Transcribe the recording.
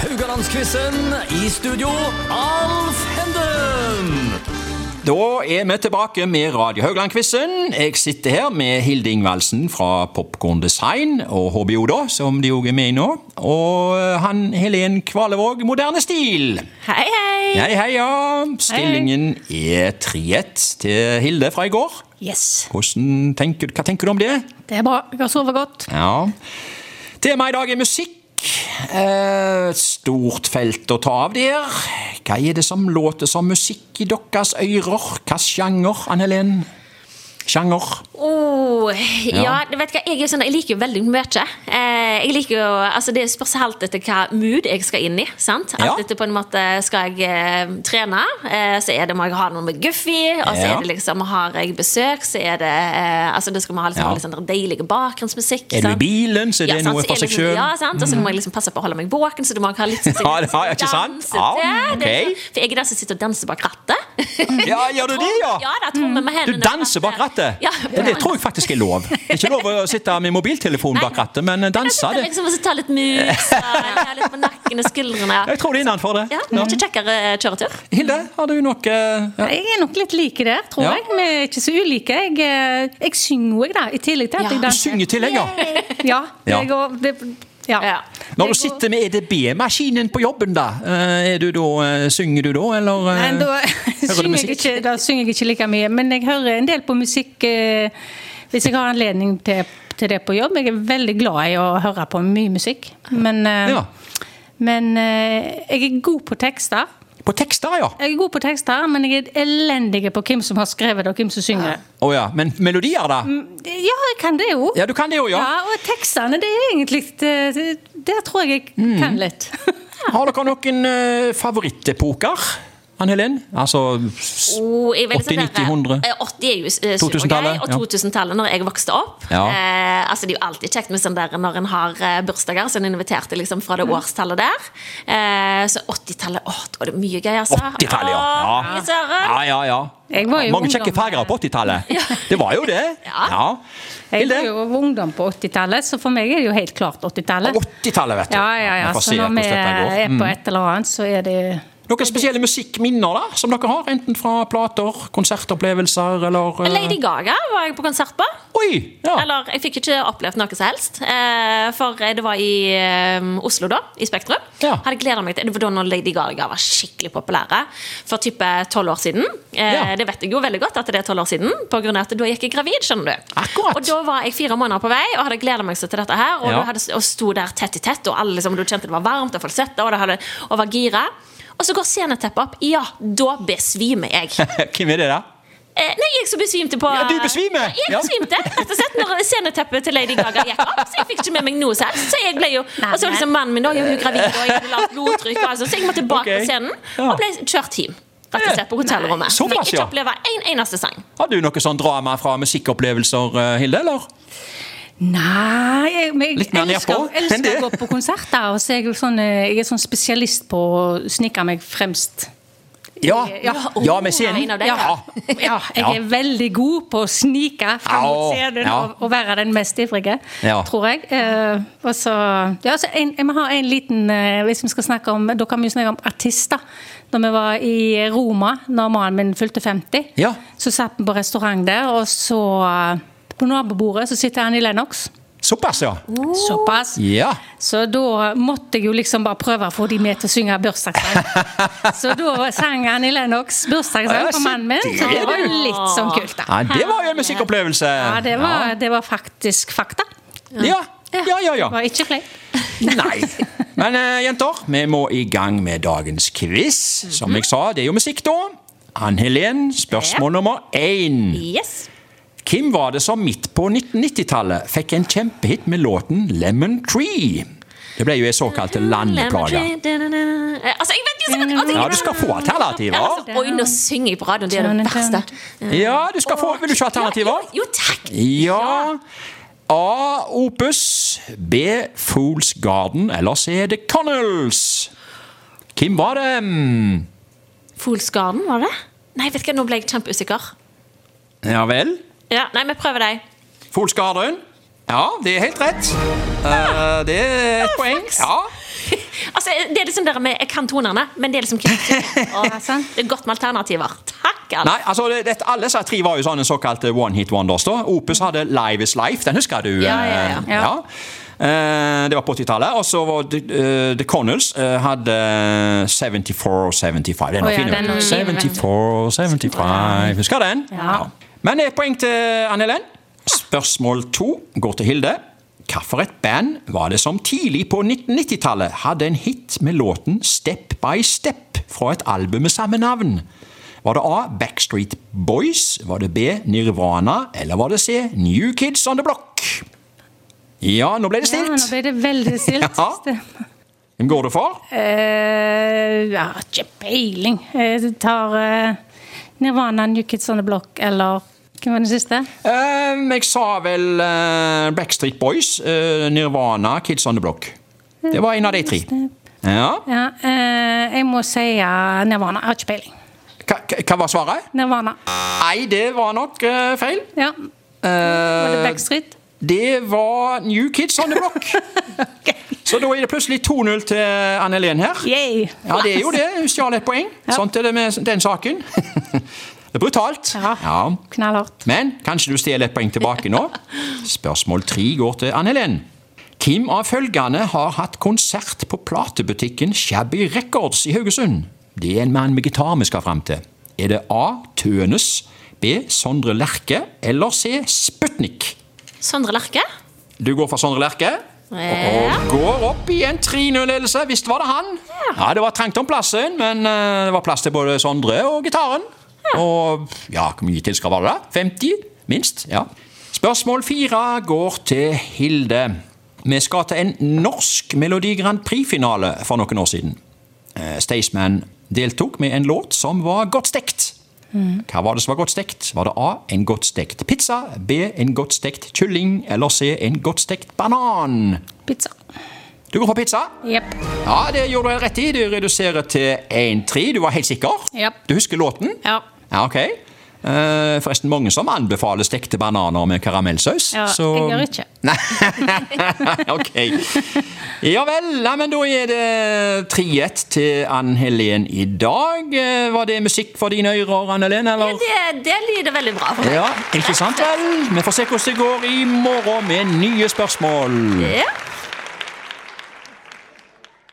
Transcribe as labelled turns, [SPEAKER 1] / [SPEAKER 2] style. [SPEAKER 1] Haugalandsquizen. I studio, Alf Henden.
[SPEAKER 2] Da er vi tilbake med Radio Haugland-quizen. Jeg sitter her med Hilde Ingvaldsen fra Popcorn Design og HBO, da, som de òg er med i nå. Og eh, han Helen Kvalevåg, Moderne Stil.
[SPEAKER 3] Hei, hei!
[SPEAKER 2] Hei, hei, ja. Stillingen er 3-1 til Hilde fra i går.
[SPEAKER 3] Yes,
[SPEAKER 2] Hvordan tenker, hva tenker du om det?
[SPEAKER 3] det er bra. Jeg har sovet godt.
[SPEAKER 2] Ja. Temaet i dag er musikk. Eh, Et stort felt å ta av der. Hva er det som låter som musikk i deres ører? Hva sjanger, Anne Helen? Sjanger?
[SPEAKER 3] Oh, ja,
[SPEAKER 2] Ja.
[SPEAKER 3] du vet hva, jeg, er sånn, jeg liker jo veldig mye. Eh, jeg liker jo, altså Det spørs helt etter hva mood jeg skal inn i. sant?
[SPEAKER 2] Ja.
[SPEAKER 3] Alt etter på en måte Skal jeg eh, trene, eh, så er det må jeg ha noe med guff i. Og så
[SPEAKER 2] Ja.
[SPEAKER 3] er det liksom, har jeg besøk, så er det eh, altså det skal vi ha liksom,
[SPEAKER 2] Ja.
[SPEAKER 3] litt sånn deilig bakgrunnsmusikk.
[SPEAKER 2] Er du i
[SPEAKER 3] sant?
[SPEAKER 2] bilen, så er det
[SPEAKER 3] sant,
[SPEAKER 2] noe
[SPEAKER 3] så
[SPEAKER 2] for
[SPEAKER 3] jeg
[SPEAKER 2] seg sjøl?
[SPEAKER 3] Liksom, ja, sant? Og så må jeg liksom passe på å holde meg våken, så du må ha litt sånn
[SPEAKER 2] Ja, det- ja, ikke sant?
[SPEAKER 3] danse
[SPEAKER 2] Ja,
[SPEAKER 3] til. Det
[SPEAKER 2] ok.
[SPEAKER 3] er sånn- For jeg er den som sitter og danser bak rattet.
[SPEAKER 2] Ja, gjør du det, ja?
[SPEAKER 3] Ja da, trommer med
[SPEAKER 2] Du
[SPEAKER 3] hendene.
[SPEAKER 2] danser bak rattet?
[SPEAKER 3] Ja.
[SPEAKER 2] Det, det tror jeg faktisk er lov. Det er ikke lov å sitte med mobiltelefon bak rattet, men
[SPEAKER 3] Jeg
[SPEAKER 2] danse
[SPEAKER 3] sitter
[SPEAKER 2] det.
[SPEAKER 3] liksom og så tar litt mus og tar litt på nakken og skuldrene.
[SPEAKER 2] Jeg tror det er innenfor det.
[SPEAKER 3] Ja, det er ikke kjekkere eh, kjøretur.
[SPEAKER 2] Hilde, har du noe eh, ja.
[SPEAKER 4] Jeg er nok litt like der, tror
[SPEAKER 2] Ja.
[SPEAKER 4] jeg. Vi er ikke så ulike. Jeg, eh, jeg synger jo, jeg, da. I tillegg til at
[SPEAKER 3] Ja.
[SPEAKER 4] jeg
[SPEAKER 2] Du
[SPEAKER 4] danser.
[SPEAKER 2] synger i tillegg, ja.
[SPEAKER 4] Ja.
[SPEAKER 2] Ja.
[SPEAKER 4] Jeg, og, det, ja.
[SPEAKER 3] Ja.
[SPEAKER 2] Når du sitter med EDB-maskinen på jobben, da, eh, er du da, eh, synger du da, eller eh,
[SPEAKER 4] Nei, da,
[SPEAKER 2] hører du
[SPEAKER 4] synger jeg
[SPEAKER 2] musikk?
[SPEAKER 4] ikke, da synger jeg ikke like mye. Men jeg hører en del på musikk eh, hvis jeg har anledning til, til det på jobb. Jeg er veldig glad i å høre på mye musikk. Men, eh,
[SPEAKER 2] Ja.
[SPEAKER 4] men eh, jeg er god på tekster.
[SPEAKER 2] På tekster, ja.
[SPEAKER 4] Jeg er god på tekster, men jeg er elendig på hvem som har skrevet det, og hvem som synger det.
[SPEAKER 2] Å ja. Men melodier, da?
[SPEAKER 4] Mm. Ja, jeg kan det jo.
[SPEAKER 2] Ja, du kan det jo, ja.
[SPEAKER 4] Ja, og tekstene, det er egentlig det, det- Der tror jeg jeg
[SPEAKER 2] Mm.
[SPEAKER 4] kan litt.
[SPEAKER 2] Har dere noen eh, favorittepoker? Ann Helen? Altså s-
[SPEAKER 3] Oh, jeg er
[SPEAKER 2] 80,
[SPEAKER 3] veldig sånn der-
[SPEAKER 2] 90, 100.
[SPEAKER 3] Eh, 80 er jo eh, supergøy,
[SPEAKER 2] 2000-tallet,
[SPEAKER 3] og
[SPEAKER 2] ja.
[SPEAKER 3] 2000-tallet, når jeg vokste opp
[SPEAKER 2] Ja.
[SPEAKER 3] eh, Altså Det er jo alltid kjekt med sånn der når en har eh, bursdager, så en inviterte liksom fra det årstallet der. Eh, så 80-tallet Åh, da var det mye gøy, altså.
[SPEAKER 2] 80-tallet, ja.
[SPEAKER 3] Åh,
[SPEAKER 2] Ja.
[SPEAKER 3] fy søren.
[SPEAKER 2] ja, ja, ja.
[SPEAKER 4] Jeg var jo
[SPEAKER 2] Mange kjekke
[SPEAKER 4] ungdom.
[SPEAKER 2] farger på 80-tallet. Det var jo det.
[SPEAKER 3] Ja.
[SPEAKER 4] Jeg var
[SPEAKER 2] Hilde?
[SPEAKER 4] jo ungdom på 80-tallet, så for meg er det jo helt klart 80-tallet.
[SPEAKER 2] 80-tallet, vet du.
[SPEAKER 4] Ja, ja, ja.
[SPEAKER 2] Vi får
[SPEAKER 4] Så
[SPEAKER 2] se
[SPEAKER 4] når
[SPEAKER 2] hvordan
[SPEAKER 4] vi
[SPEAKER 2] dette
[SPEAKER 4] er
[SPEAKER 2] går. Mm.
[SPEAKER 4] på et eller annet, så er det
[SPEAKER 2] Noen spesielle musikkminner da, som dere har? Enten fra plater, konsertopplevelser eller eh,
[SPEAKER 3] Lady Gaga var jeg på konsert på.
[SPEAKER 2] Oi! Ja.
[SPEAKER 3] Eller, jeg fikk ikke opplevd noe som helst. eh, For det var i eh, Oslo, da. I Spektrum.
[SPEAKER 2] Ja.
[SPEAKER 3] Hadde gledet meg til Det var da når Lady Gaga var skikkelig populære. For type tolv år siden. Eh,
[SPEAKER 2] Ja.
[SPEAKER 3] Det vet jeg jo veldig godt at det er tolv år siden. På grunn av at da gikk jeg gravid, skjønner du.
[SPEAKER 2] Akkurat.
[SPEAKER 3] Og da var jeg fire måneder på vei og hadde gledet meg så til dette her. Og,
[SPEAKER 2] Ja.
[SPEAKER 3] da hadde, og sto der tett i tett, og alle liksom, du kjente det var varmt og falsett, og, det hadde, og var gira. Og så går sceneteppet opp. Ja, da besvimer jeg.
[SPEAKER 2] Hvem er det, da?
[SPEAKER 3] Eh, nei, jeg som besvimte på
[SPEAKER 2] Ja, du besvimer!
[SPEAKER 3] Jeg
[SPEAKER 2] Ja.
[SPEAKER 3] besvimte, rett og slett, når sceneteppet til Lady Gaga gikk opp. Så jeg fikk ikke med meg noe selv. Så jeg ble jo, og så var liksom mannen min da, jeg er jo gravid, og jeg hadde lavt blodtrykk, og altså, så jeg måtte bak
[SPEAKER 2] Ok.
[SPEAKER 3] på scenen
[SPEAKER 2] Ja.
[SPEAKER 3] og ble kjørt hjem. Rett og slett på hotellrommet.
[SPEAKER 2] Såpass,
[SPEAKER 3] Fikk ikke
[SPEAKER 2] ja.
[SPEAKER 3] oppleve en eneste sang.
[SPEAKER 2] Har du noe sånn drama fra musikkopplevelser, eh, Hilde? eller?
[SPEAKER 4] Nei, jeg, men jeg
[SPEAKER 2] Litt mer nedpå
[SPEAKER 4] elsker,
[SPEAKER 2] enn det.
[SPEAKER 4] elsker å gå på konserter. Og så er jeg, jo sånn, eh, jeg er sånn spesialist på å snike meg fremst.
[SPEAKER 2] Ja, ja,
[SPEAKER 3] åh,
[SPEAKER 2] med scenen.
[SPEAKER 3] en av dem, ja.
[SPEAKER 4] Ja, jeg er veldig god på å snike fram
[SPEAKER 2] Au,
[SPEAKER 4] mot scenen
[SPEAKER 2] ja.
[SPEAKER 4] og, og være den mest ivrige,
[SPEAKER 2] Ja.
[SPEAKER 4] tror jeg. Eh, og så, ja, så en, jeg må ha en liten eh, Hvis vi skal snakke om Da kan vi jo snakke om artister. Da vi var i Roma, når mannen min fylte 50,
[SPEAKER 2] Ja.
[SPEAKER 4] så satt vi på restaurant der, og så eh, På nabobordet så sitter Annie Lennox.
[SPEAKER 2] Såpass, ja.
[SPEAKER 4] Såpass.
[SPEAKER 2] Ja.
[SPEAKER 4] Så da måtte jeg jo liksom bare prøve å få de med til å synge bursdagssang. Så da sang Annie Lennox
[SPEAKER 2] Ja,
[SPEAKER 4] bursdagssang
[SPEAKER 2] så
[SPEAKER 4] for mannen min, så
[SPEAKER 2] det
[SPEAKER 4] det var jo litt sånn kult, da.
[SPEAKER 2] Nei, det var jo en musikkopplevelse.
[SPEAKER 4] Ja, det var, det var faktisk fakta.
[SPEAKER 2] Ja, ja, ja.
[SPEAKER 4] Det
[SPEAKER 2] ja.
[SPEAKER 4] var ikke fleip.
[SPEAKER 2] Nei. Men eh, jenter, vi må i gang med dagens quiz. Som jeg sa, det er jo musikk, da. Ann Helen, spørsmål nummer én.
[SPEAKER 3] Yes.
[SPEAKER 2] Hvem var det som midt på 1990-tallet fikk en kjempehit med låten 'Lemon Tree'? Det ble jo ei såkalt
[SPEAKER 3] Mm,
[SPEAKER 2] landeplage.
[SPEAKER 3] Eh, Altså, jeg vet jo så godt
[SPEAKER 2] Ja, du skal få
[SPEAKER 3] Ja,
[SPEAKER 2] alternativer.
[SPEAKER 3] altså, Oi, nå synger jeg på radioen, det er det verste.
[SPEAKER 2] Ja, du skal få. Vil du ikke ha alternativer?
[SPEAKER 3] Jo, takk.
[SPEAKER 2] Ja A. Opus. B. Fools Garden. Eller C. The Connells. Hvem var det?
[SPEAKER 3] Folsgarden, var det? Nei, vet du hva, nå ble jeg kjempeusikker.
[SPEAKER 2] Ja vel?
[SPEAKER 3] Ja, nei, vi prøver deg.
[SPEAKER 2] Fools Garden. Ja, det er helt rett. Eh, det er et poeng. Ja.
[SPEAKER 3] Altså, det er liksom dere med Jeg kan tonene, men det er liksom ikke og
[SPEAKER 4] Ja, sant.
[SPEAKER 3] Det er godt med alternativer. Takk, Alf.
[SPEAKER 2] Nei, altså, det, det, alle disse tre var jo sånne såkalte one-hit wonders. da. Opus hadde Live is Life, den husker du?
[SPEAKER 3] Ja, ja, ja.
[SPEAKER 2] eh, ja. Eh, det var på 80-tallet. Og så var det, eh, The Connells eh, hadde 74 og 75. Den
[SPEAKER 4] Å,
[SPEAKER 2] var
[SPEAKER 4] ja,
[SPEAKER 2] fin.
[SPEAKER 4] den
[SPEAKER 2] vet du.
[SPEAKER 4] var fin, vet du.
[SPEAKER 2] 74 og 75. Husker den? Ja. Men et poeng til Anne Helen. Spørsmål to går til Hilde. Hvilket band var det som tidlig på 1990-tallet hadde en hit med låten Step by Step fra et album med samme navn? Var det A. Backstreet Boys? Var det B. Nirvana? Eller var det C. New Kids on the Block? Ja, nå ble det
[SPEAKER 4] Ja, nå
[SPEAKER 2] stilt.
[SPEAKER 4] ble det veldig stilt.
[SPEAKER 2] Ja. Hvem går det for?
[SPEAKER 4] Eh, ja, ikke peiling. Jeg tar eh, Nirvana, New Kids on the Block eller Hvem var den siste?
[SPEAKER 2] Ehm, jeg sa vel eh, Backstreet Boys, eh, Nirvana, Kids on the Block. Det var en av de tre. Ja.
[SPEAKER 4] Ja, eh, jeg må si ja, Nirvana. Jeg har ikke peiling.
[SPEAKER 2] Hva, hva- hva var svaret?
[SPEAKER 4] Nirvana.
[SPEAKER 2] Nei, det var nok eh, feil.
[SPEAKER 4] Ja.
[SPEAKER 2] Eh,
[SPEAKER 4] Var det Backstreet?
[SPEAKER 2] Det var New Kids on the Block. Så da er det plutselig 2-0 til Anne Helen her.
[SPEAKER 4] Yay!
[SPEAKER 2] Ja, det er jo det. Hun stjal et poeng. Sånt er det med den saken. Det er brutalt.
[SPEAKER 4] Ja. Knallhardt.
[SPEAKER 2] Men kanskje du stjeler et poeng tilbake nå? Spørsmål tre går til Anne-Helen. Hvem av følgende har hatt konsert på platebutikken Shabby Records i Haugesund? Det er en mann med gitar vi skal fram til. Er det A. Tønes, B. Sondre Lerche eller C. Sputnik?
[SPEAKER 3] Sondre Lerche?
[SPEAKER 2] Du går for Sondre Lerche.
[SPEAKER 3] Ja.
[SPEAKER 2] Og går opp i en 3-0-ledelse. Visst var det han. Ja, Det var trangt om plassen, men eh, det var plass til både Sondre og gitaren. Og ja, hvor mye til skal være det? 50? Minst. ja. Spørsmål fire går til Hilde. Vi skal til en norsk Melodi Grand Prix-finale for noen år siden. Eh, Staysman deltok med en låt som var godt stekt. Hva var det som var godt stekt? Var det A. En godt stekt pizza. B. En godt stekt kylling. Eller C. En godt stekt banan.
[SPEAKER 4] Pizza.
[SPEAKER 2] Du går for pizza.
[SPEAKER 4] Jepp.
[SPEAKER 2] Ja, det gjorde du helt rett i. Du reduserer til 1-3. Du var helt sikker?
[SPEAKER 4] Ja.
[SPEAKER 2] Du husker låten?
[SPEAKER 4] Ja.
[SPEAKER 2] Ja, ok. Eh, forresten mange som anbefaler stekte bananer med karamellsaus.
[SPEAKER 4] Ja,
[SPEAKER 2] så-
[SPEAKER 4] jeg gjør ikke.
[SPEAKER 2] ok. Ja vel, nei, men da er det 3-1 til Ann Helen i dag. Eh, Var det musikk for dine ører, Ann Helen? Eller?
[SPEAKER 3] Ja, det, det lyder veldig bra for meg.
[SPEAKER 2] Ja, ikke sant vel? Vi får se hvordan det går i morgen med nye spørsmål.
[SPEAKER 3] Ja.